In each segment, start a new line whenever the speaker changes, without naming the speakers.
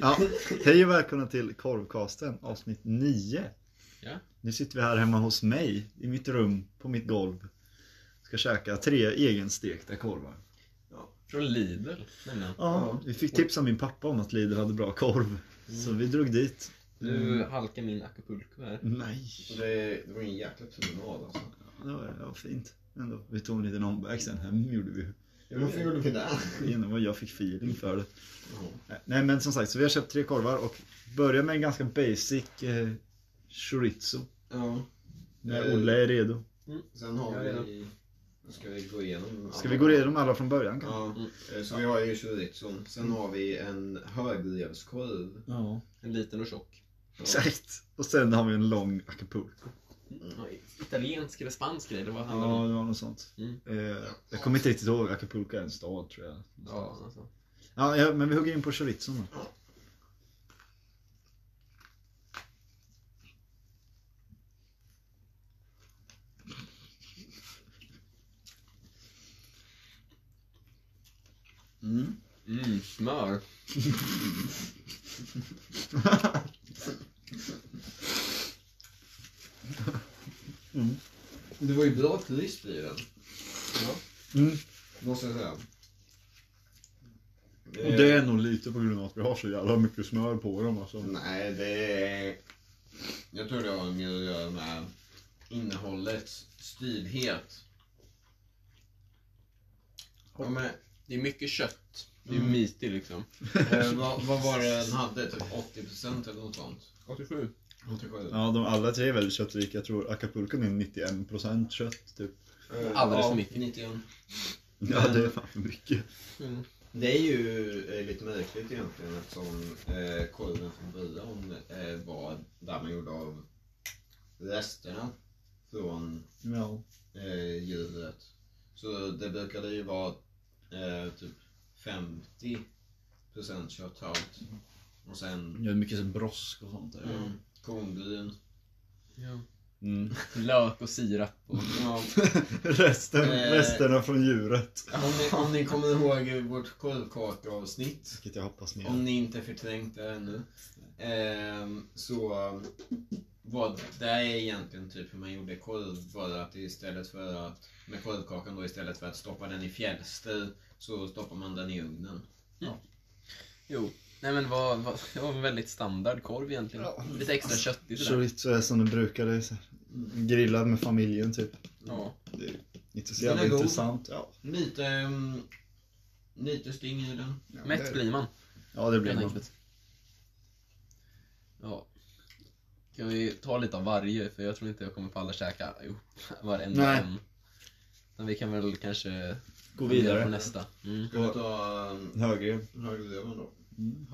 Ja, hej och välkomna till Korvkasten avsnitt 9.
Ja.
Nu sitter vi här hemma hos mig i mitt rum på mitt golv. Ska käka tre egenstekta korvar.
Från Lidl nämligen.
Ja, vi fick tips av min pappa om att Lidl hade bra korv. Så vi drog dit.
Nu halkar min Acapulco här.
Nej,
Så det, det var en jäkla promenad alltså.
det var, det var fint ändå. Vi tog en liten omväg sen hem gjorde vi.
Ja, varför gjorde vi det?
Genom vad jag fick feeling för det. Nej men som sagt, så vi har köpt tre korvar och börjar med en ganska basic eh, chorizo.
Ja. Eh,
När Olle är redo.
Sen har
Jag är
vi... Nu ska vi gå igenom.
Ska
alla.
vi gå igenom alla från början kanske?
Ja.
Mm.
eh, Så vi har ju chorizon. Sen har vi en höglevskorv.
Ja.
En liten och tjock.
Exakt. Och sen har vi en lång acapulco.
Ja, Italiensk eller spansk grej, det var han
Ja,
om.
det var något sånt.
Mm.
Eh, jag kommer inte riktigt ihåg. Acapulco är en stad tror jag.
Ja, alltså.
Ja, ja, men vi hugger in på chorizon då. Mm.
Mm, smör.
Det var ju bra twist i den.
Mm.
Måste jag säga.
Och det är nog lite på grund av att vi har så jävla mycket smör på dem alltså.
Nej, det är... Jag tror det har mer att göra med innehållets styvhet. Ja, men,
Det är mycket kött. Det är
Mm.
meaty liksom.
eh, vad, vad var det den hade? Typ 80% eller något sånt?
87.
87?
Ja, de alla tre är väldigt köttrika. Jag tror Acapulco är 91% kött typ.
Eh,
Mm. Alldeles för
ja,
mycket.
91.
Ja, det är fan för mycket.
Mm.
Det är ju eh, lite märkligt egentligen eftersom eh, korven från början eh, var där man gjorde av resterna från
Ja.
eh, djuret. Så det brukade ju vara eh, typ 50% kötthalt. Och sen
Det är mycket så brosk och sånt där.
mm, kornbryn.
Ja.
Mm.
Lök och sirap. Och...
Ja,
Resten,
Eh.
Resterna från djuret.
om, ni, om ni kommer ihåg vårt korvkakaavsnitt.
Vilket jag hoppas ni
Om ni inte förträngt det ännu. Ehm, så vad det är egentligen typ hur man gjorde korv bara att istället för att med korvkakan då istället för att stoppa den i fjällster så stoppar man den i ugnen.
Jo. Nej men vad, vad, det var en väldigt standard korv egentligen.
Ja.
Lite extra köttigt där.
Chorizo är som den brukar, det är så här, grillad med familjen typ.
Ja.
Det är inte så
Den
jävla
är god.
intressant. Ja,
Lite, ehm, lite sting i den.
Mätt blir man.
Ja, det blir
Helt
man.
enkelt. Ja. Kan vi ta lite av varje? För jag tror inte jag kommer palla käka ihop varenda
Nej.
en. Men vi kan väl kanske
Gå
på
vidare.
nästa. Mm.
Ska vi ta ehm,
Högre.
högerleven då?
Mm.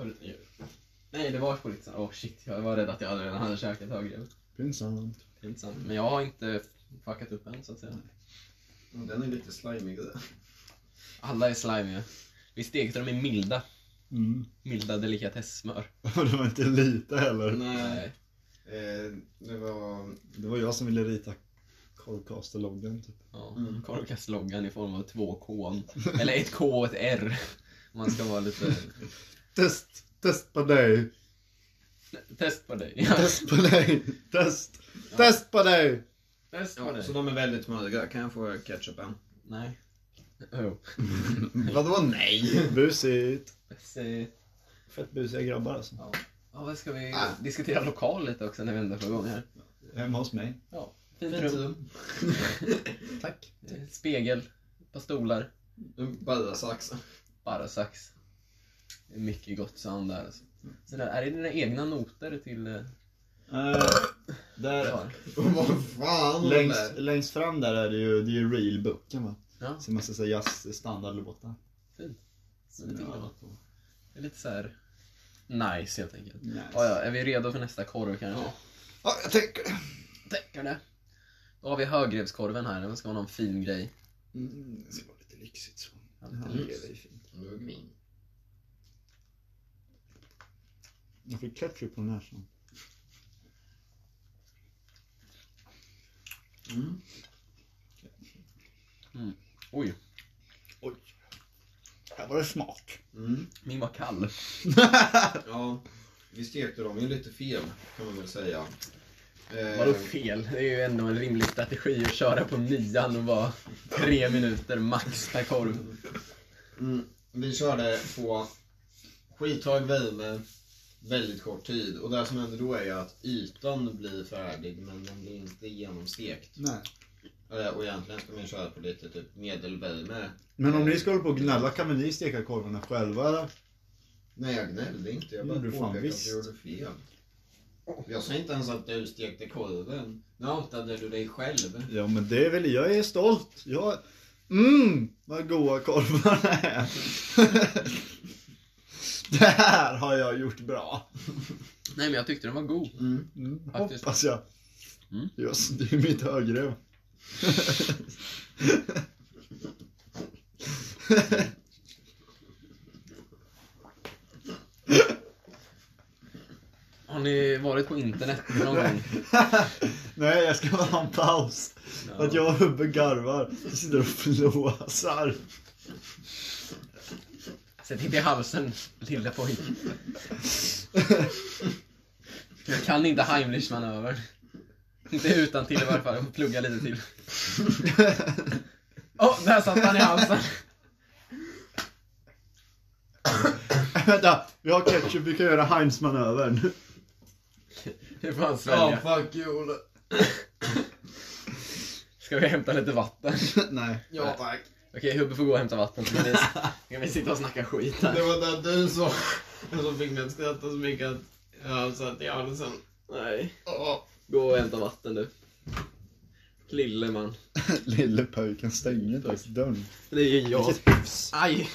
Nej, det var på lite Åh shit, jag var rädd att jag redan hade käkat högre.
Pinsamt.
Pinsamt. Men jag har inte fuckat upp än så att säga.
Mm, Den är lite slimigare.
Alla är slimiga. Vi stekte dem i milda,
Mm.
milda delikatessmör.
det var inte lite heller.
Nej.
Nej.
Eh, det var...
Det var jag som ville rita korvkasterloggen typ.
Ja.
Mm.
Korvkastloggan i form av två K. Eller ett K och ett R. Om man ska vara lite...
Test! Test på dig!
Test på dig. Ja.
Test på dig! Test! Test på dig!
Test på
Ja,
dig.
så de är väldigt smöriga. Kan jag få ketchupen?
Nej. Oh.
Vadå nej? Busigt.
Se.
Fett busiga grabbar alltså.
Ja, vad ska vi
Ah.
diskutera lokal lite också när vi ändå får igång här?
Hemma hos mig.
Ja. Fint rum. Eh,
Tack.
Spegel. Ett par stolar.
Bara sax.
Bara sax. Det är Mycket gott sound där alltså. Så där, är det dina egna noter till... eh,
där,
Ja.
Vad fan
längst, längst fram där är det ju, det är ju reelbooken va?
ja.
Så en massa så här eh, jazzstandardlåtar.
så lite grann. Det är lite så här nice helt enkelt.
Nice.
Ja, ja, är vi redo för nästa korv kanske?
Ja.
Ja, jag tänker det.
Tänker det. Då har vi högrevskorven här, den ska vara någon fin grej.
Mm, det ska vara lite lyxigt så.
Ja,
Det här
lite
är ju fint.
Lugn.
Jag fick ketchup på näsan.
Mm.
Oj,
Oj. Här var det smak.
Mm.
Min var kall.
Ja, vi stekte dem ju lite fel kan man väl säga. Eh,
Vadå fel? Det är ju ändå en rimlig strategi att köra på nian och vara tre minuter max per korv.
Mm, vi körde på skithög värme väldigt kort tid och det som händer då är ju att ytan blir färdig men den blir inte genomstekt.
Nej.
Eh, Och egentligen ska man ju köra på lite typ medelvärme.
Men om ni ska hålla på och gnälla kan väl ni steka korvarna själva eller?
Nej jag gnällde inte, jag bara
Gjorde du fan
påpekade att
visst.
jag gjorde fel. Jag sa inte ens att du stekte korven. Nu outade du dig själv.
Ja men det är väl, jag är stolt. Jag... Mm, vad goda korvarna är. det här har jag gjort bra.
Nej men jag tyckte den var god.
Mm.
Mm,
Faktiskt.
hoppas jag.
Mm.
Just, det är mitt högrev.
Har ni varit på internet någon gång?
Nej, jag ska bara ha en paus.
Ja.
Att jag och Hubbe garvar. Jag sitter och flåsar.
Sätt inte i halsen, lilla pojk. Jag kan inte Heimlichs manöver. Inte utan till i varje fall. Jag får plugga lite till. Åh, oh, där satt han i halsen.
Vänta, vi har ketchup, vi kan göra Heinz-manövern.
Hur fan
Ja,
svälja?
fuck you Olle.
Ska vi hämta lite vatten?
Nej.
Ja, tack.
Okej, Hubbe får gå och hämta vatten. Så kan vi, kan vi sitta och snacka skit här.
Det var där du sa, som fick mig att skratta så mycket att jag satt i halsen.
Nej.
Åh.
Gå och hämta vatten du. Lille man.
Lille pojken stänger faktiskt dörren.
Det är ju jag.
Vilket hyfs.
Aj!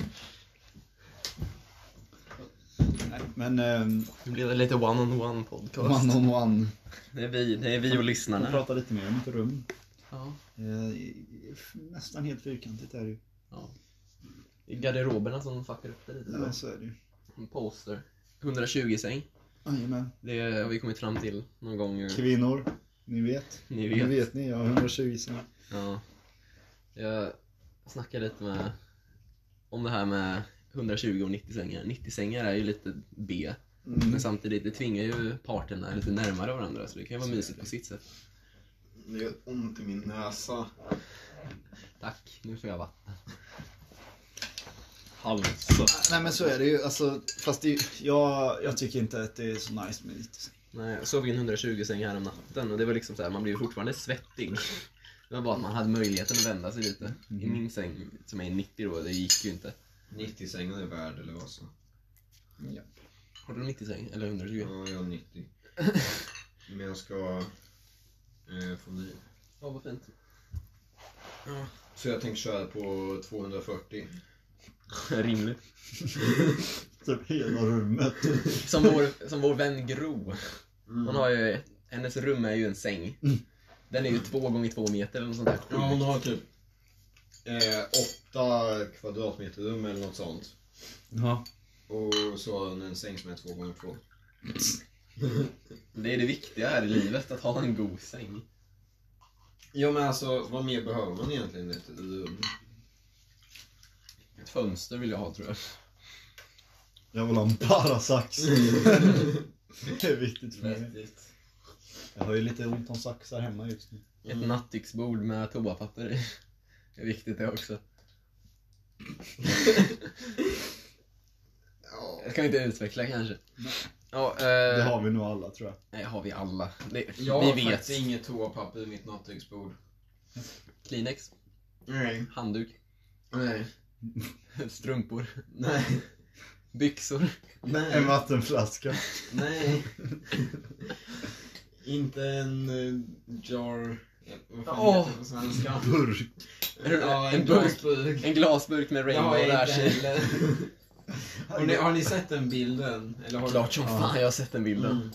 Men, ehm,
Nu blev det lite one-on-one podcast.
one on one.
Det är vi, det är vi och
Vi
lyssnarna.
pratar lite mer om ett rum.
Ja.
Eh, f- Nästan helt fyrkantigt är det ju.
Det är garderoberna som fuckar upp det lite.
Ja, så är det ju.
En poster. 120 säng.
Jajamän.
Det har vi kommit fram till någon gång. eh,
Mm. Kvinnor, ni vet. Nu
Ni vet.
vet ni, jag har 120 sen.
Ja. Jag snackade lite med om det här med 120 och 90 sängar. 90 sängar är ju lite B.
Mm.
Men samtidigt, det tvingar ju parterna lite närmare varandra så det kan ju vara mysigt på sitt sätt.
Det gör ont i min näsa.
Tack, nu får jag vatten. Alltså.
Halsa.
Nej men så är det ju, alltså, fast det, är- jag, jag tycker inte att det är så nice med 90 sen.
Nej, jag sov i en 120 säng här om natten och det var liksom så här, man blir ju fortfarande svettig. Det var bara att man hade möjligheten att vända sig lite. I min säng, som är 90 då, det gick ju inte.
90-sängen är värdelös. alltså.
Ja.
Har du en 90 säng? Eller 120?
Ja, jag är 90. Men jag ska eh, få ny.
Ja, vad fint.
Så jag tänker köra på 240.
Rimligt.
Typ hela rummet.
Som vår, som vår vän Gro.
Mm.
Hon har ju, hennes rum är ju en säng. Den är ju två gånger två meter eller något sånt där.
Ja, hon har typ eh, åtta kvadratmeter rum eller något sånt.
Ja.
Och så har hon en säng som är två gånger två.
Det är det viktiga här i livet, att ha en god säng.
Ja men alltså, vad mer behöver man egentligen i ett rum?
Ett fönster vill jag ha tror jag.
Jag vill ha en parasax. det är viktigt för mig.
Vettigt.
Jag har ju lite ont om saxar hemma just nu.
Mm.
Ett nattduksbord med toapapper i. Det är viktigt det också.
Ja.
Jag kan inte utveckla kanske.
Nej.
Ja,
Det
eh,
har vi nog alla tror jag.
nej, har vi alla. Det,
Jag
vi
har
vet.
faktiskt inget toapapper i mitt nattduksbord.
Kleenex,
Nej.
handduk,
Nej.
strumpor,
Nej.
byxor.
En
Nej.
vattenflaska.
Nej. Inte en eh, jar... eh, Vad fan
Åh.
heter det på svenska?
Burk.
Ja, en,
En burk.
glasburk.
En glasburk med
Det har
rainbow
jag
där
inte
sig.
heller. Har ni, har ni sett den bilden? Eller har
Klart som
Ja.
fan jag har sett den
ni...
bilden.
Mm.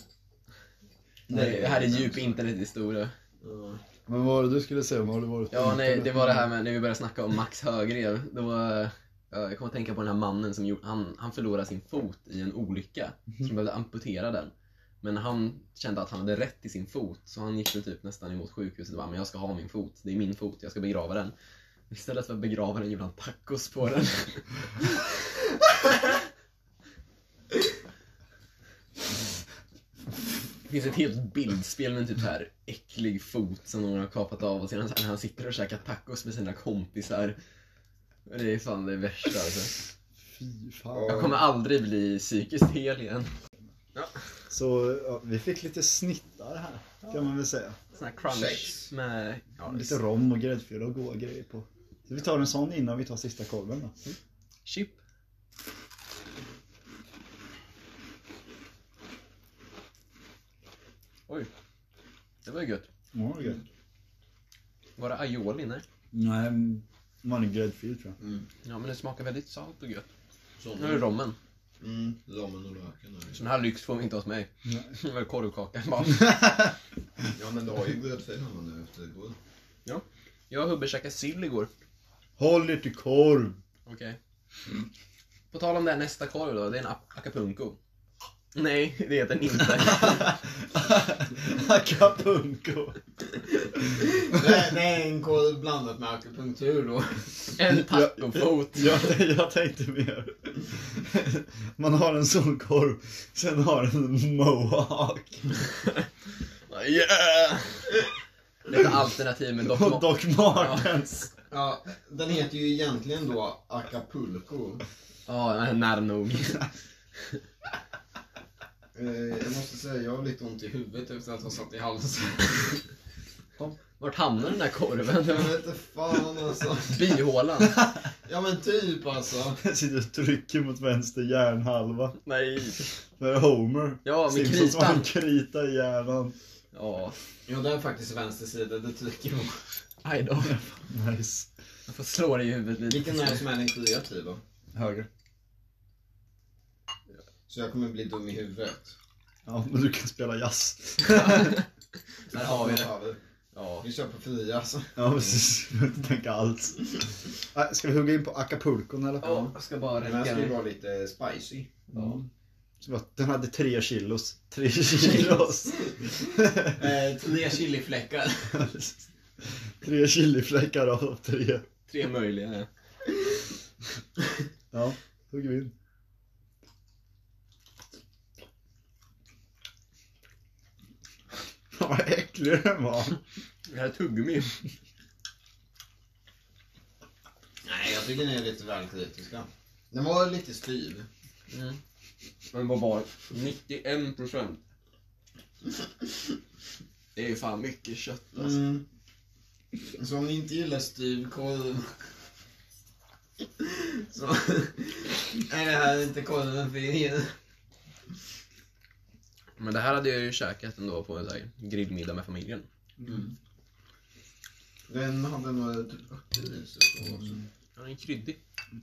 Nej, det här är djup internethistoria.
Ja.
Men vad var det du skulle säga? Vad har du varit på
Ja, nej,
internet?
det var det här med när vi började snacka om Max Högrev. Då, eh, jag kommer att tänka på den här mannen som gjorde, han, han förlorade sin fot i en olycka. Så de behövde amputera den. Men han kände att han hade rätt i sin fot. Så han gick väl typ nästan emot sjukhuset och bara, men jag ska ha min fot. Det är min fot, jag ska begrava den. Istället för att begrava den gjorde han tacos på den. Det finns ett helt bildspel med en typ så här äcklig fot som någon har kapat av och sedan så här, han sitter och käkar tacos med sina kompisar. Och Det är fan det värsta alltså.
Fy fan.
Jag kommer aldrig bli psykiskt hel igen.
Så ja, vi fick lite snittar här, kan man väl säga.
Sån här crunch
Sex.
med... Ja,
Lite rom och gräddfil och goa grejer på. Så vi tar en sån innan vi tar sista korven då.
chip. Oj. Det var ju gött.
Ja, det är gött.
Var det aioli? Nej.
Nej, man är gräddfil tror jag.
Mm.
Ja, men det smakar väldigt salt och gött.
Sån.
Nu är det rommen.
Mm. Rommen och löken. där.
Sån här lyx får vi inte hos mig.
Nej.
Det var korvkaka bara.
Ja men du har ju gräddfil hemma nu efter igår.
Jag och Hubbe käkade sill igår.
Håll er till korv!
Okej. På tal om det här nästa korv då, det är en a- acapulco. Nej, det heter den inte.
Acapulco!
Det är en korv blandat med akupunktur då.
En tacofot.
Jag, jag tänkte mer. Man har en solkorv, sen har en mohawk.
Yeah! Lite alternativ med Doc
Och
Mo-
Doc Martens.
Ja, den heter ju egentligen då Acapulco.
Ja, nära nog.
Eh, jag måste säga, jag har lite ont i huvudet efter att ha satt i halsen.
Vart hamnar den där korven?
Jag vet inte fan alltså.
Bihålan?
Ja men typ alltså.
Jag sitter och trycker mot vänster hjärnhalva.
Nej.
Där är Homer.
Ja, med
Simpsons har en
kritan.
krita i hjärnan.
Ja,
Ja, det är faktiskt vänster sida, det trycker jag.
aj då.
Nice.
Jag får slå dig i huvudet lite.
Vilken är det som är den kreativa?
Höger.
Så jag kommer bli dum i huvudet.
Ja, men du kan spela jazz.
Där har vi det.
det.
Ja.
Vi kör på fria alltså.
Ja, precis. Du behöver inte tänka alls. Nej, Äh, Ska vi hugga in på acapulcon eller? Mm.
Ja, jag ska bara
Den här
räcka
ska ju
den.
vara lite spicy.
Ja.
Så bara, Den hade tre kilos. Tre kilos.
Eh, tre chilifläckar.
tre chilifläckar av tre.
Tre möjliga.
Ja, hugger vi in. Fan, Vad äcklig den var.
Det här är tuggummi.
Nej, jag tycker ni är lite väl kritiska. Den var lite styv.
Mm. Men vad var 91 procent. Det är ju fan mycket kött alltså.
Mm. Så om ni inte gillar styv korv så är det här inte korven för er.
Men det här hade jag ju käkat ändå på en så här grillmiddag med familjen.
Mm. Den hade nog typ örter i sig då också.
Den är kryddig.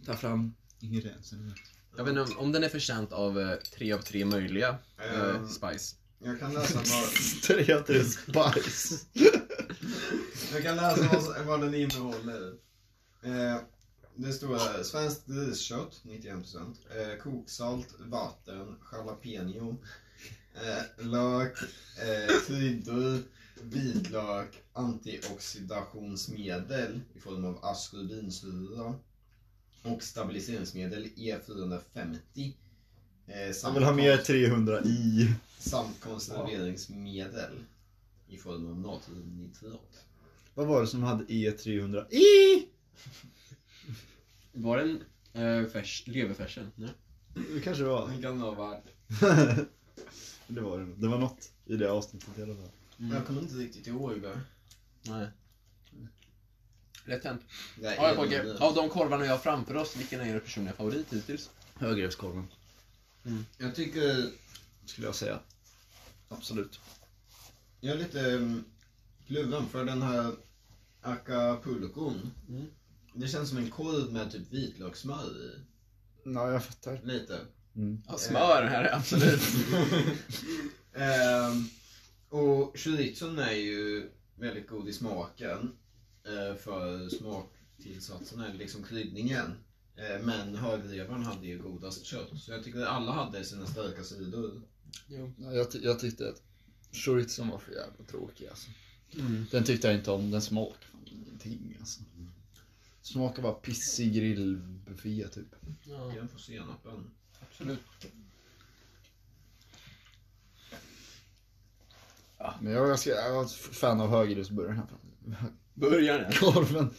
Ta fram ingredienserna.
Jag vet inte om- om den är förtjänt av eh, tre av tre möjliga eh,
Eh,
spice.
Jag kan läsa vad,
Tre av tre spice.
jag kan läsa vad, vad den innehåller. Eh, det står här, svenskt griskött, 91%. Eh, koksalt, vatten, jalapeno, eh, lök, eh, kryddor, vitlök, antioxidationsmedel i form av askorbinsyra och stabiliseringsmedel E450. Eh,
Jag
samt
vill ha mer
konst-
300 i.
Samt konserveringsmedel i form av natriumnitrat.
Vad var det som hade E300 i?
Var den eh, färs, leverfärsen? Nej.
Det kanske det var.
Den kan ha varit.
det var det nog. Det var något i det avsnittet i alla fall.
Mm.
Jag kommer inte riktigt ihåg det.
Nej. Lätt hänt.
Nej,
Ja, pojke. Av de korvarna vi har framför oss, vilken är er personliga favorit hittills?
Högrevskorven.
Jag tycker,
Skulle jag säga. Absolut.
jag är lite um, kluven för den här acapulcon.
Mm.
Det känns som en korv med typ vitlökssmör i.
Nej, jag fattar.
Lite.
Ja, smör här är absolut.
Ehm, och chirizon är ju väldigt god i smaken. eh, för smaktillsatserna, eller liksom kryddningen. Eh, men högrevaren hade ju godast kött. Så jag tycker att alla hade sina starka sidor.
jo.
Jag, ty- jag tyckte att chorizon var för jävla tråkig alltså.
Mm.
Den tyckte jag inte om, den smakade.
Ingenting alltså. Smakar bara pissig grillbuffé typ.
Ja,
Den får senapen.
absolut.
Men jag, jag, ska, jag är fan av höghusburgaren här framme.
Börjar den?
Korven.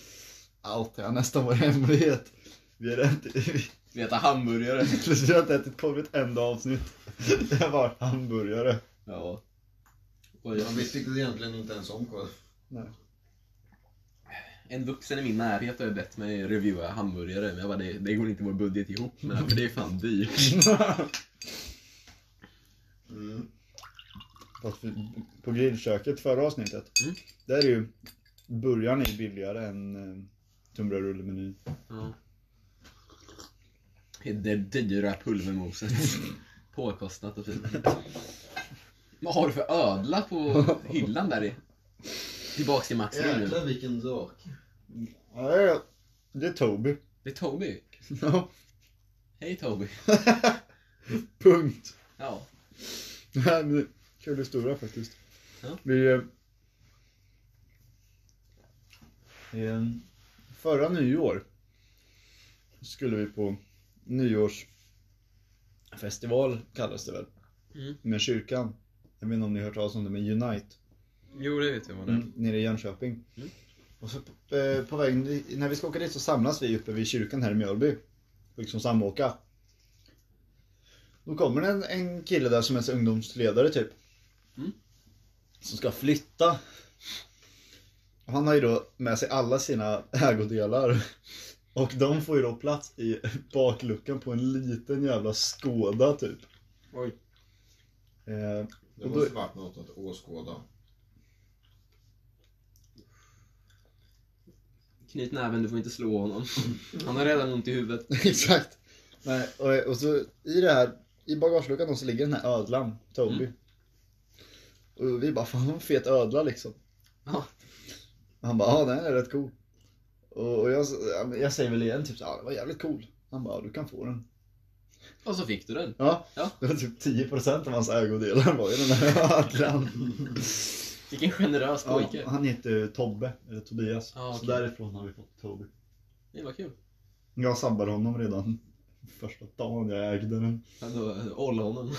Allt det har nästan varit hemlighet. Vi har ätit,
Vi äter hamburgare.
vi har inte ätit korv i ett enda avsnitt. Det har varit hamburgare.
Ja. Och
Man
jag,
visste egentligen inte ens om korv.
en vuxen i min närhet har ju bett mig reviewa hamburgare, men jag bara, det, det går inte vår budget ihop med, för det är fan dyrt.
Mm.
Fast vi- På grillköket förra avsnittet.
Mm.
Där är ju burgaren är billigare än eh, tunnbrödsrullemenyn.
Ja. Det dyra pulvermoset. Påkostat och fint. Vad har du för ödla på hyllan där i? Tillbaks till Max rum nu.
Jäklar vilken sak.
Ja, det är- det är Toby.
Det är Toby.
Ja.
Hej Toby.
Punkt.
Ja.
Nej, men det är kul historia faktiskt.
Ja.
Vi... eh, eh, Förra nyår skulle vi på nyårsfestival, kallas det väl,
Mm.
med kyrkan. Jag vet inte om ni har hört talas om det, men Unite.
Jo, det vet jag vad
mm. nere i Jönköping.
Mm.
Och så på, eh, på vägen, i- när vi ska åka dit så samlas vi uppe vid kyrkan här i Mjölby. Och liksom samåka. Då kommer det en, en kille där som är så ungdomsledare typ.
Mm.
Som ska flytta. Och Han har ju då med sig alla sina ägodelar. Och de får ju då plats i bakluckan på en liten jävla Skåda typ.
Oj.
Eh,
Det
Och då-
måste varit något att åskåda.
Knyt näven, du får inte slå honom. Han har redan ont i huvudet.
Exakt. Nej, och, och så i det här, i bagageluckan då så ligger den här ödlan, Toby.
Mm.
Och vi bara, fan vad fet ödla liksom.
Ja.
Han bara, ja den är rätt cool. Och, och jag, ja, men jag säger väl igen typ så ja den var jävligt cool. Han bara, ja, du kan få den.
Och så fick du den.
Ja,
Ja.
det var typ 10% av hans ägodelar var ju den här ödlan.
Vilken generös pojke.
Ja, han heter Tobbe, eller Tobias.
Ja,
Så
okej.
därifrån har vi fått Toby.
Det var kul.
Jag sabbade honom redan första dagen jag ägde den.
Han då, eh, Olla honom.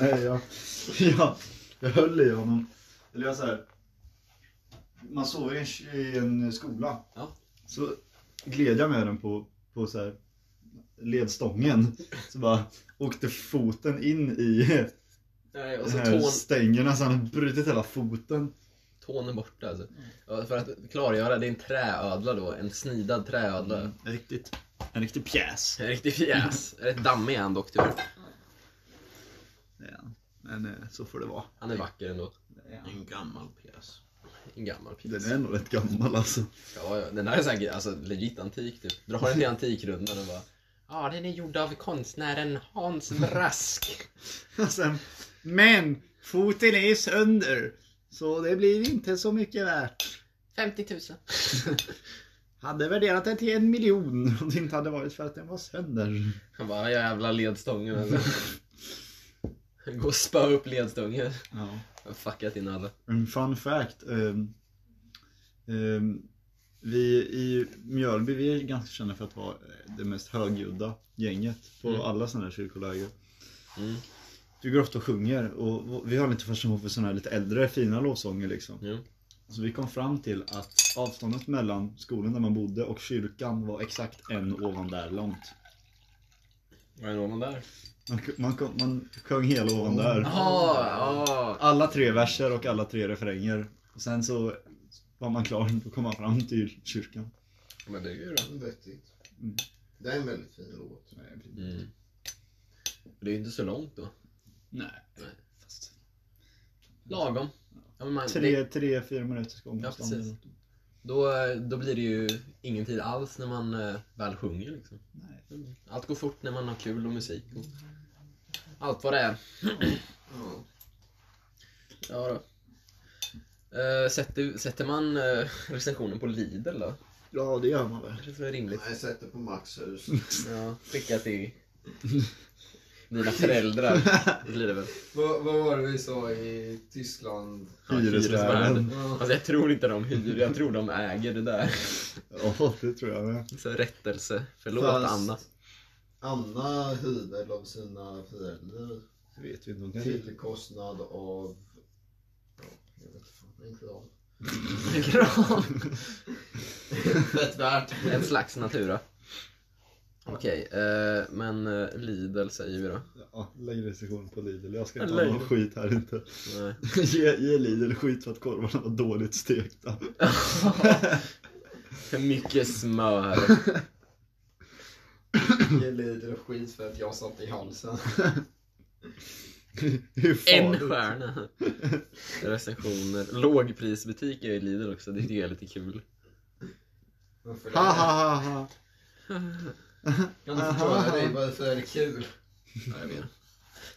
Nej, jag, jag, jag höll i honom. Eller jag så här. Man sover i en, i en skola.
Ja.
Så gled jag med den på, på så här ledstången. Så bara åkte foten in i
Nej, och
de
så
här
tån,
stängerna så han har brutit hela foten.
tån är borta alltså. Ja, För att klargöra, det är en träödla då. En snidad träödla.
En riktigt, en riktig pjäs.
En riktig fjäs. Rätt dammig är han dock typ. tyvärr.
Ja, men eh, så får det vara.
Han är vacker ändå.
En gammal pjäs.
En gammal pjäs.
Den är nog rätt gammal alltså.
Ja, ja. Den där är säkert alltså, legit antik typ. Dra den till Antikrundan och bara Ja, den är gjord av konstnären Hans Brask.
Sen, men foten är sönder. Så det blir inte så mycket värt.
50 000.
Hade värderat den till en miljon om det inte hade varit för att den var sönder.
Han bara, jävla ledstången alltså. Gå och spö upp ledstången.
Ja.
Jag har fuckat in alla.
En fun fact. ehm, ehm, vi i Mjölby, vi är ganska kända för att vara eh, det mest högljudda gänget på
Mm.
alla sådana här kyrkoläger.
Mm.
Vi går ofta och sjunger och och vi har lite fascination för sådana här lite äldre fina lovsånger liksom.
Jo.
Så vi kom fram till att avståndet mellan skolan där man bodde och kyrkan var exakt en ovan där långt.
Var det någon där?
Man, man, kom- man sjöng hela ovan där.
Jaha! ja.
alla tre verser och alla tre refränger. Och sen så var man klar, då kom man fram till kyrkan.
Men det är ju
Vettigt.
Mm.
Det är en väldigt fin låt.
Mm. Det är ju inte så långt då.
Nej.
Lagom. Ja, men man,
Tre, tre, fyra minuters gång.
Ja, precis. då, då blir det ju ingen tid alls när man eh, väl sjunger liksom.
Nej.
Allt går fort när man har kul och musik och allt vad det är.
Ja.
Ja då. Eh, sätter, sätter man eh, recensionen på Lidl då?
Ja, det gör man väl.
Det känns väl rimligt.
Nej, sätt det på Max hus.
Ja, skicka till... Dina föräldrar blir det väl.
Vad, vad var det vi sa i Tyskland?
Ja,
Hyresvärden.
Ja.
Alltså jag tror inte de hyr, jag tror de äger det där.
Ja, det tror jag med.
Så rättelse. Förlåt
Fast-
Anna.
Anna hyrde väl av sina föräldrar
Det vet vi inte. De kanske-
till kostnad av... Ja, jag vet fan, en kram.
Fett värt.
En slags natura. Okej, eh, men eh, Lidl säger vi då.
Ja, lägg recension på Lidl. Jag ska inte ha
Lägg-
någon skit här inte.
Nej.
Ge, ge Lidl skit för att korvarna var dåligt stekta.
För mycket smör.
Ge Lidl skit för att jag satt i halsen.
Hur
En
farligt?
stjärna. Recensioner. Lågprisbutiker i Lidl också, det tycker jag är lite kul.
Varför
Ha,
det?
ha, ha, ha.
Kan du förklara dig varför är det kul?
Ja, jag vet.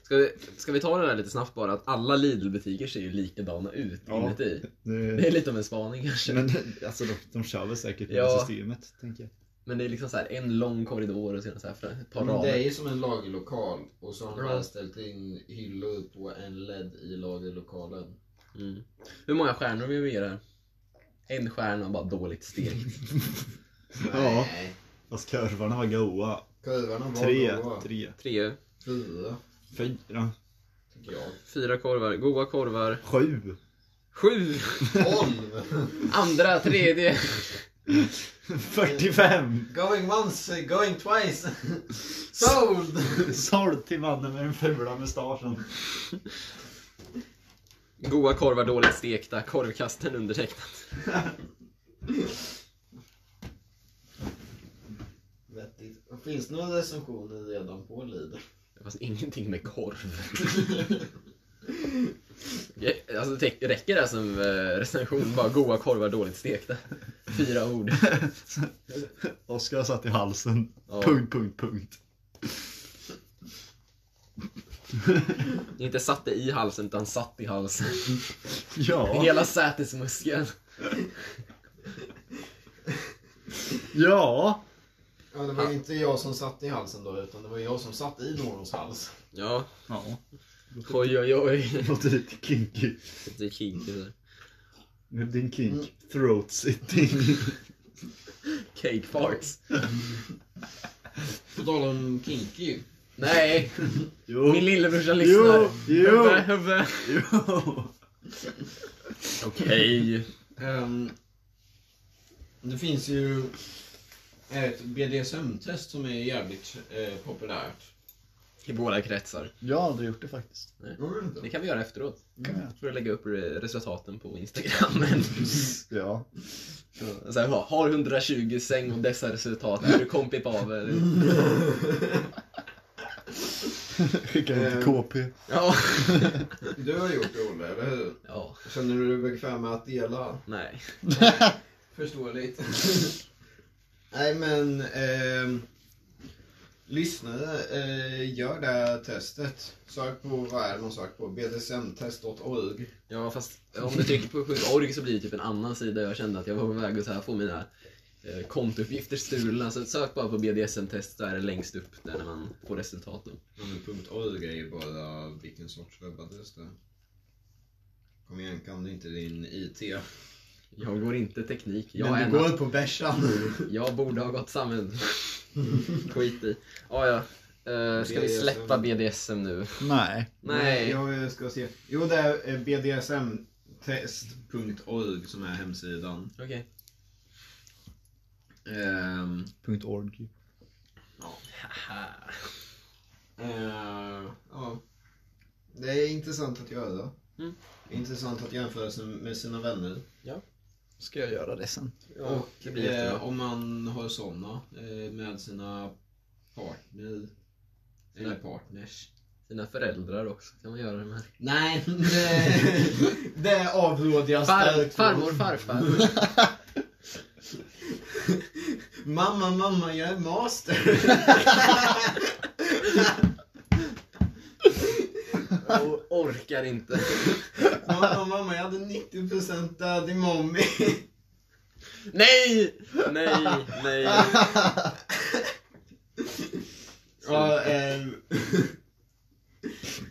Ska vi, ska vi ta det där lite snabbt bara, att alla Lidl-butiker ser ju likadana ut
Ja.
inuti. Det
Det,
är lite av en spaning kanske.
men alltså de, de kör väl säkert med
Ja.
systemet, tänker jag.
Men det är liksom så här en lång korridor och sedan så här för ett par
Men det är
rader.
ju som en lagerlokal och så har de
Ja.
bara ställt in hyllor på en LED i lagerlokalen.
Mm. Hur många stjärnor vill vi ge det här? En stjärna bara dåligt stekt.
Ja.
Nej.
Fast korvarna var goa.
Kurvorna var
Tre,
goa.
tre,
Tre,
Fyra,
fyra,
tycker jag.
fyra korvar, goa korvar.
sju.
Sju!
Tolv!
Andra, tredje.
45!
Going once, going twice. Sold!
Såld till mannen med den fula mustaschen.
Goa korvar, dåligt stekta. Korvkasten undertecknat.
Vettigt. Finns det några recensioner redan på Lidl?
Det fanns ingenting med korv. Okej, Alltså, det räcker det här som eh, recension? Bara goa korvar, dåligt stekta. Fyra ord.
Oskar satt i halsen.
Ja.
Punkt, punkt, punkt.
Inte satte i halsen, utan satt i halsen.
Ja,
Hela sätesmuskeln.
ja.
Ja, det var inte jag som satt i halsen då, utan det var jag som satt i någons hals.
Ja,
Ja,
oj oj oj.
låter lite kinky.
Det är kinky där.
Med din kink. Throat sitting.
Cake farts.
På tal om kinky.
Nej,
Jo,
min
jo,
lillebrorsa lyssnar.
jo,
Hubbe, hubbe.
jo.
Okej.
Ehm, det finns ju ett BDSM-test som är jävligt eh, populärt.
I båda kretsar.
Jag har aldrig gjort det faktiskt.
Det kan vi göra efteråt.
Kan jag?
För att lägga upp re- resultaten på Instagram.
Ja.
Så här, ha- har 120 säng och dessa resultat. Är du kompipavel?
Skicka in till KP.
Ja.
Du har gjort det Olle, eller hur?
Ja,
Känner du dig bekväm med att dela?
nej.
Förståeligt. Nej men, ehm, lyssnare, eh, gör det här testet. Sök på, vad är det man söker på? BDSMtest.org.
Ja, fast om du trycker på 7org så blir det typ en annan sida. Jag kände att jag var på väg att så här få mina eh, kontouppgifter stulna. Så sök bara på BDSM-test, där är det längst upp där när man får resultat. Då.
Ja, men punkt .org är ju bara vilken sorts webbadress det är. Kom igen, kan du inte din IT?
Jag går inte teknik. Jag, är
Men
en, Mm.
du går på bärsan.
jag borde ha gått samhälle. Skit i. Ja, ja. Eh, ska vi
BDSM.
släppa BDSM nu?
Nej.
Nej.
Jag ska se. Jo, det är eh, bdsmtest.org som är hemsidan.
Okej.
Ehm,
Punkt org.
Eh, ja. Det är intressant att göra.
Mm.
Intressant att jämföra sig med sina vänner.
Ska jag göra det sen?
Ja,
och
det blir jättebra.
eh, om man har sådana eh, med sina partner. Eller partners.
Sina föräldrar också kan man göra det med.
Nej, det, det avråder jag
Far,
starkt från.
farmor, farfar.
Mamma, mamma, jag är master.
Jag orkar inte.
mamma, mamma, jag hade 90% död i mommy.
Nej! Nej, nej.
Ja, eh,
hette?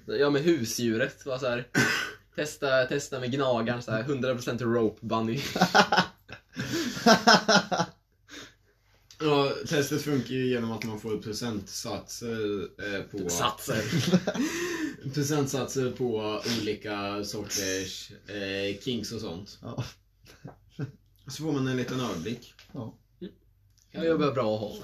Ja, med husdjuret. Var så här, testa, testa med gnagaren, så här, 100% rope bunny.
Ja, testet funkar ju genom att man får procentsatser eh, på...
Satser.
procentsatser på olika sorters eh, kinks och sånt.
Ja.
Så får man en liten överblick.
Ja, jag börjar bra att ha.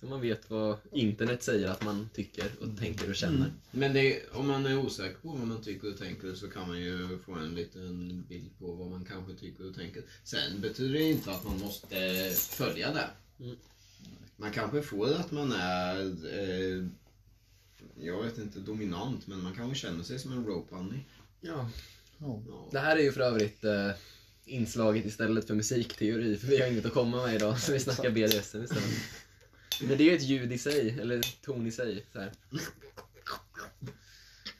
Så man vet vad internet säger att man tycker och tänker och känner.
Men det, om man är osäker på vad man tycker och tänker så kan man ju få en liten bild på vad man kanske tycker och tänker. Sen betyder det inte att man måste följa det.
Mm.
Man kanske får att man är, eh, jag vet inte, dominant, men man kanske känner sig som en rope bunny.
Ja.
Ja.
Det här är ju för övrigt eh, inslaget istället för musikteori, för vi har inget att komma med idag, så vi snackar BDSM istället. Men det är ju ett ljud i sig, eller ton i sig. Så här.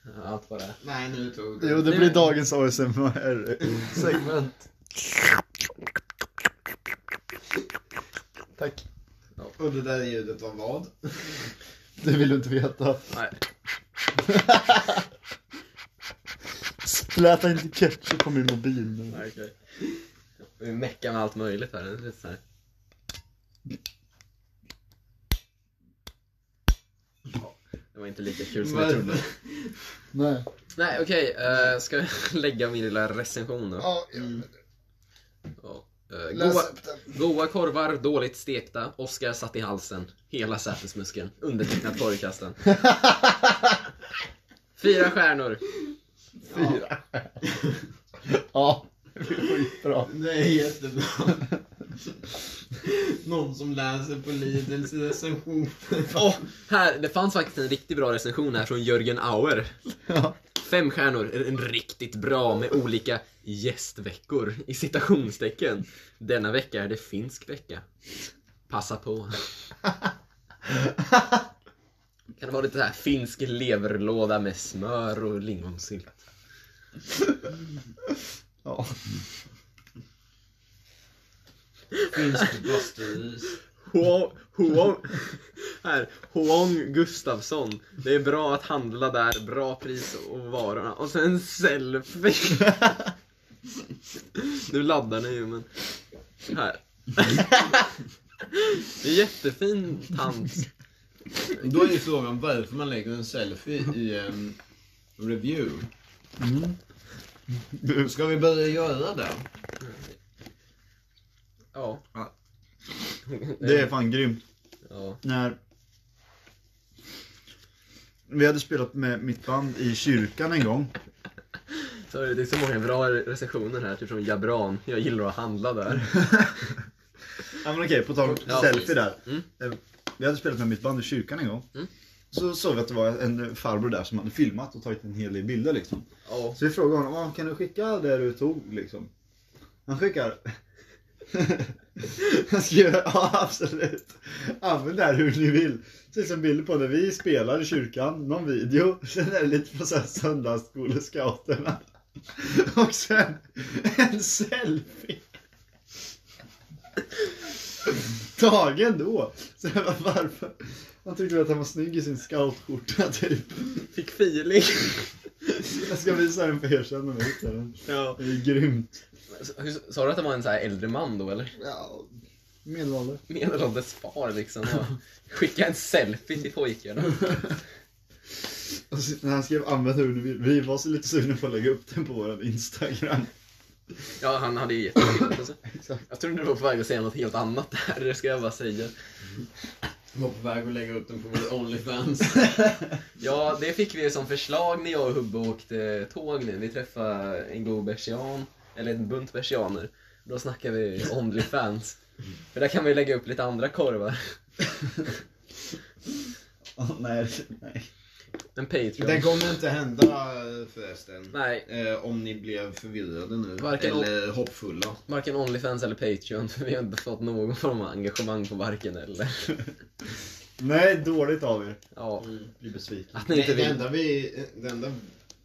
Ja, Allt bara.
Nej, nu tog
Jo, det blir dagens ASMR-segment. Tack.
Och det där ljudet var vad?
Det vill du inte veta.
Nej.
Spläta inte ketchup på min mobil nu.
Okay. Vi meckar med allt möjligt här. Det är lite så här. Det var inte lika kul som jag
Men-
trodde.
Nej.
Nej, okej. eh, ska jag lägga min lilla recension då?
Ja,
Ja. Eh,
läs
goa,
upp den.
goa korvar, dåligt stekta. Oskar satt i halsen. Hela sätesmuskeln. Undertecknat korvkasten. Fyra stjärnor.
Fyra. Ja, det blir skitbra.
Det är jättebra. Någon som läser på Lidls recension.
Åh, här, det fanns faktiskt en riktigt bra recension här från Jörgen Auer.
Ja.
Fem stjärnor, är en riktigt bra med olika gästveckor i citationstecken. Denna vecka är det finsk vecka. Passa på. Kan det vara lite så här finsk leverlåda med smör och lingonsylt?
Ja.
Finsk blåsteris.
Huong, Huong, här, Huong Gustafsson. Det är bra att handla där, bra pris och varorna. Och sen selfie. Nu laddar ni ju men... Här. Det är jättefin tant.
Då är ju frågan varför man lägger en selfie i en review. Ska vi börja göra det?
Ja.
Det är fan grymt.
Ja.
när vi hade spelat med mitt band i kyrkan en gång.
Så det är så många bra recensioner här, typ från Jabran. Jag gillar att handla där.
Ja men okej, på tal om
Ja,
selfie där.
Mm.
Eh, Vi hade spelat med mitt band i kyrkan en gång.
Mm.
Så såg vi att det var en farbror där som hade filmat och tagit en hel del bilder liksom.
Ja.
Så vi frågade honom, "Ah, kan du skicka det du tog liksom? Han skickar. Han skriver, ja absolut. Använd det här hur ni vill. Så liksom bilder på när vi spelar i kyrkan, någon video. Sen är det lite på så här söndagsskolescouterna. Och sen en selfie. Tagen då. Så jag bara, varför? Han tyckte väl att han var snygg i sin scoutskjorta typ.
Fick feeling.
Jag ska visa den för er sen när vi hittar den.
Ja.
Det är grymt.
Sa du att det var en så här äldre man då eller?
Ja, medelålder.
medelålders far liksom och skicka en selfie till pojkarna.
Och så- när han skrev använd hur ni vill. Vi var så lite sugna på att lägga upp den på vår Instagram.
Ja, han hade ju jätteroligt alltså.
Exakt.
Jag trodde du var på väg att säga något helt annat där, det ska jag bara säga.
Var på väg att lägga upp den på vår Onlyfans.
Ja, det fick vi som förslag när jag och Hubbe åkte tåg nu. Vi träffade en god bersian, eller en bunt bersianer. Då snackar vi Onlyfans. För där kan vi lägga upp lite andra korvar.
Åh, nej, nej.
En Patreon.
Det kommer inte hända förresten.
Nej,
Eh, om ni blev förvirrade nu.
Varken
eller hoppfulla.
varken Onlyfans eller Patreon, för vi har inte fått någon form av engagemang på varken eller.
Nej, dåligt av er.
Ja,
Blir besviken.
att ni inte
Det, det,
vill.
enda vi, det enda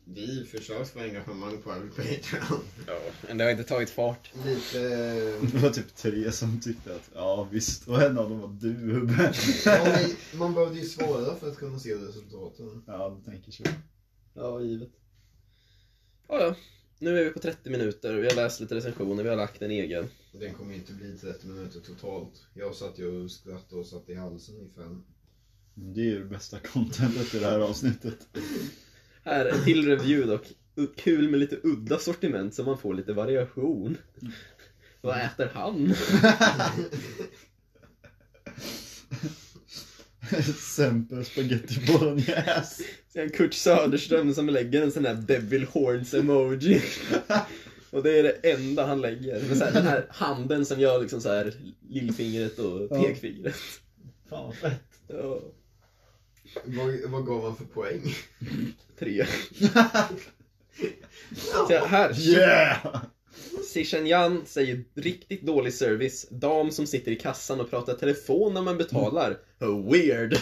vi försökt få engagemang på är väl Patreon.
Men det har inte tagit fart.
Lite...
Det var typ tre som tyckte att ja visst, och en av dem var du Hubbe.
eh, Ja, men man behövde ju svara för att kunna se resultaten.
Ja, du tänker så.
Ja, givet. Ja, ja. Nu är vi på 30 minuter. Vi har läst lite recensioner, vi har lagt en egen.
Och den kommer ju inte bli 30 minuter totalt. Jag satt ju och skrattade och satt i halsen i fem.
Det är ju det bästa contentet i det här avsnittet.
Här, en till review dock. U- Kul med lite udda sortiment så man får lite variation. Vad äter han?
Semper spaghetti bolognese.
Sen Kurt Söderström som lägger en sån här devil horns-emoji. Och det är det enda han lägger. Men så här, den här handen som gör liksom så här lillfingret och
Ja.
pekfingret.
Fan vad fett.
Ja,
Vad, vad gav han för poäng?
tre. Så här,
Yeah!
Sishan Yan säger riktigt dålig service. Dam som sitter i kassan och pratar telefon när man betalar. How weird!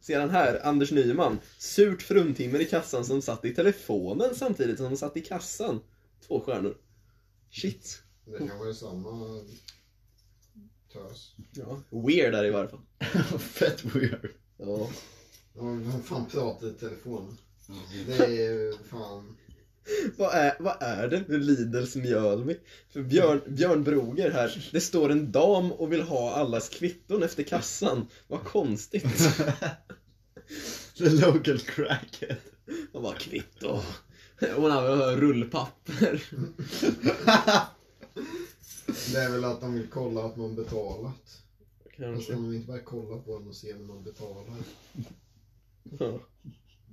Sedan här, Anders Nyman. Surt fruntimmer i kassan som satt i telefonen samtidigt som de satt i kassan. Två stjärnor. Shit.
Det kanske är samma tös.
Ja. Weird är det i varje fall.
fett weird.
Ja.
Ja, men Vem fan pratar i telefon?
Mm.
Det är ju fan...
Vad är, vad är det med Lidls Mjölby? För Björn, Björn Broger här, det står en dam och vill ha allas kvitton efter kassan. Vad konstigt.
The local crackhead.
Och bara kvitto. Hon använder rullpapper.
Det är väl att de vill kolla att man betalat.
Mm.
Och så
Kanske.
kan de inte bara kolla på en och se när man betalar.
Ja.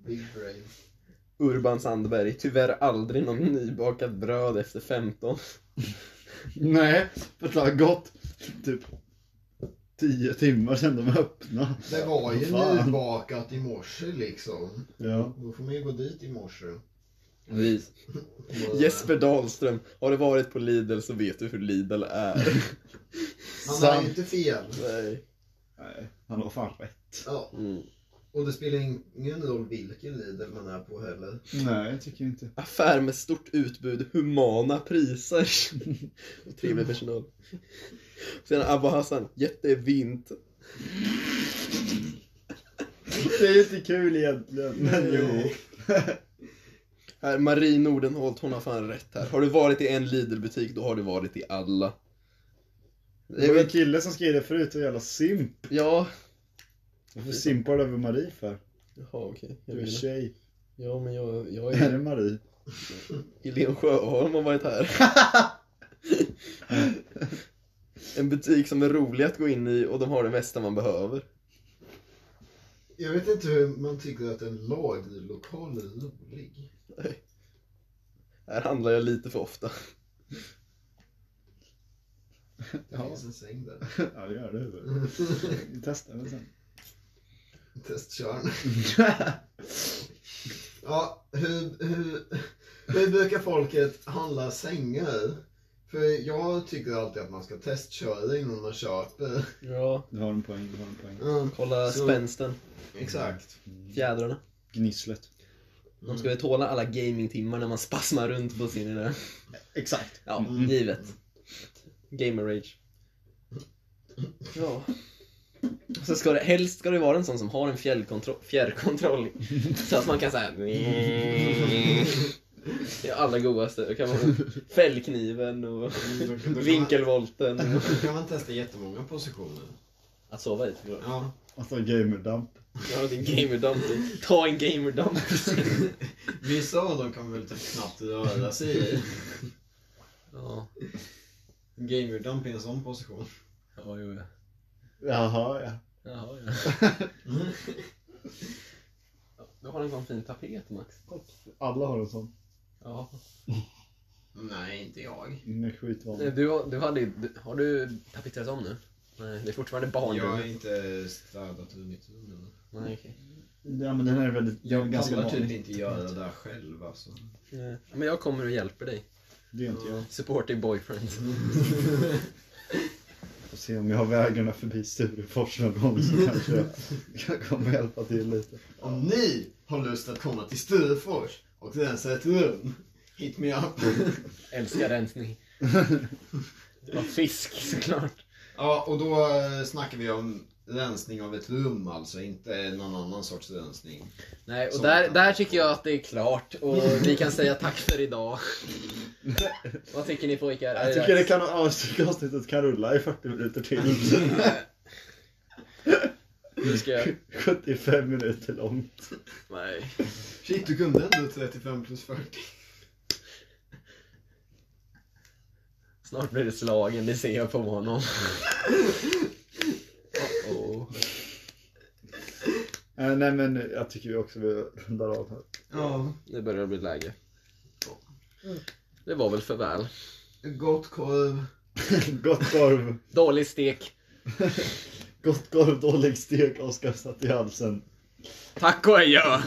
Big brain.
Urban Sandberg, tyvärr aldrig någon nybakat bröd efter 15.
Nej, för det har gått typ 10 timmar sedan de öppnade.
Det var ju
Fan.
nybakat i morse liksom.
Ja.
Då får man ju gå dit i morse. eh,
Vis.
Och-
Jesper Dahlström, har du varit på Lidl så vet du hur Lidl är.
Han har
Sant.
ju inte fel.
Nej.
Nej, han har fan rätt.
Ja,
Mm.
och det spelar ingen roll vilken Lidl man är på heller.
Nej, jag tycker inte.
Affär med stort utbud, humana priser. Och trevlig personal. Sen Abba Hassan, jättevint.
Det är ju inte kul egentligen, men jo.
Här, Marie Nordenholt, hon har fan rätt här. Har du varit i en Lidl-butik, då har du varit i alla.
Det var en kille som skrev det förut, och jävla simp.
Ja.
Varför simpar du över Marie för?
Jaha, okej. Jag
Du är
menar-
tjej.
Ja, men jag, jag
Är
är
det Marie?
i Lensjöholm har varit här. en butik som är rolig att gå in i och de har det mesta man behöver.
Jag vet inte hur man tycker att en lagerlokal är rolig.
Här handlar jag lite för ofta.
Det
Ja.
finns en säng där.
Ja, det gör det. Vi testar den sen.
Testkörn. Ja, hur, hur, hur brukar folket handla sängar? För jag tycker alltid att man ska testköra innan man köper.
Ja.
Du har en poäng, du har en poäng.
Mm,
Kolla
Så-
spänsten,
exakt.
fjädrarna.
Mm. Gnisslet.
De ska ju tåla alla gamingtimmar när man spasmar runt på sin idé.
Exakt.
Ja,
Mm.
givet. Gamer rage. Ja. Så ska det, helst ska det vara en sån som har en fjärrkontroll, fjärrkontroll så att man kan säga Det är allra godaste. Det kan vara fällkniven och
Mm, då kan- då kan
vinkelvolten.
man- Då kan man testa jättemånga positioner.
Att sova i.
Ja.
Alltså gamerdamp.
Ja, din gamerdump. Ta en gamerdump.
Vissa av dem kan man väl typ knappt röra sig i.
Ja,
Gamerdump i en sån position.
ja, jo, ja.
Jaha, ja.
Jaha, ja. Du har en sån fin tapet, Max.
Alla har en sån.
Ja.
Nej, inte jag.
Den är skitvanlig.
Du, du hade, ju- du, har du tapetserat om nu? Nej, det är fortfarande
Jag har
barnrummet.
inte städat ur mitt rum ännu.
Nej, okej.
Ja, men den är väldigt,
Jag
ganska
pallar typ
vanlig.
inte göra det där själv alltså.
Nej. Men jag kommer och hjälper dig.
Det är inte jag.
Supporting boyfriend.
Får se om jag har vägarna förbi Sturefors någon gång så kanske jag, jag kommer hjälpa till lite.
Om ni har lust att komma till Sturefors och rensa ett rum, hit me up.
Älskar rensning. Och fisk såklart.
ja, och då eh, snackar vi om rensning av ett rum alltså, inte någon annan sorts rensning.
Nej, och
Som
där,
att-
där tycker jag att det är klart och vi kan säga tack för idag. Vad tycker ni pojkar? Är
Jag
det
tycker det kan, avsnitt- avsnittet kan rulla i 40 minuter till.
dags? Nu ska jag...
75 minuter långt.
Nej.
Shit, du kunde ändå 35 plus 40.
Snart blir det slagen, det ser jag på honom. Uh-oh.
Eh, nej men jag tycker vi också vi rundar av här.
Ja,
Nu börjar det bli läge. Det var väl för väl.
gott korv.
Gott korv,
Dålig stek.
gott korv, dålig stek, avskaffat i halsen.
Tack och adjö!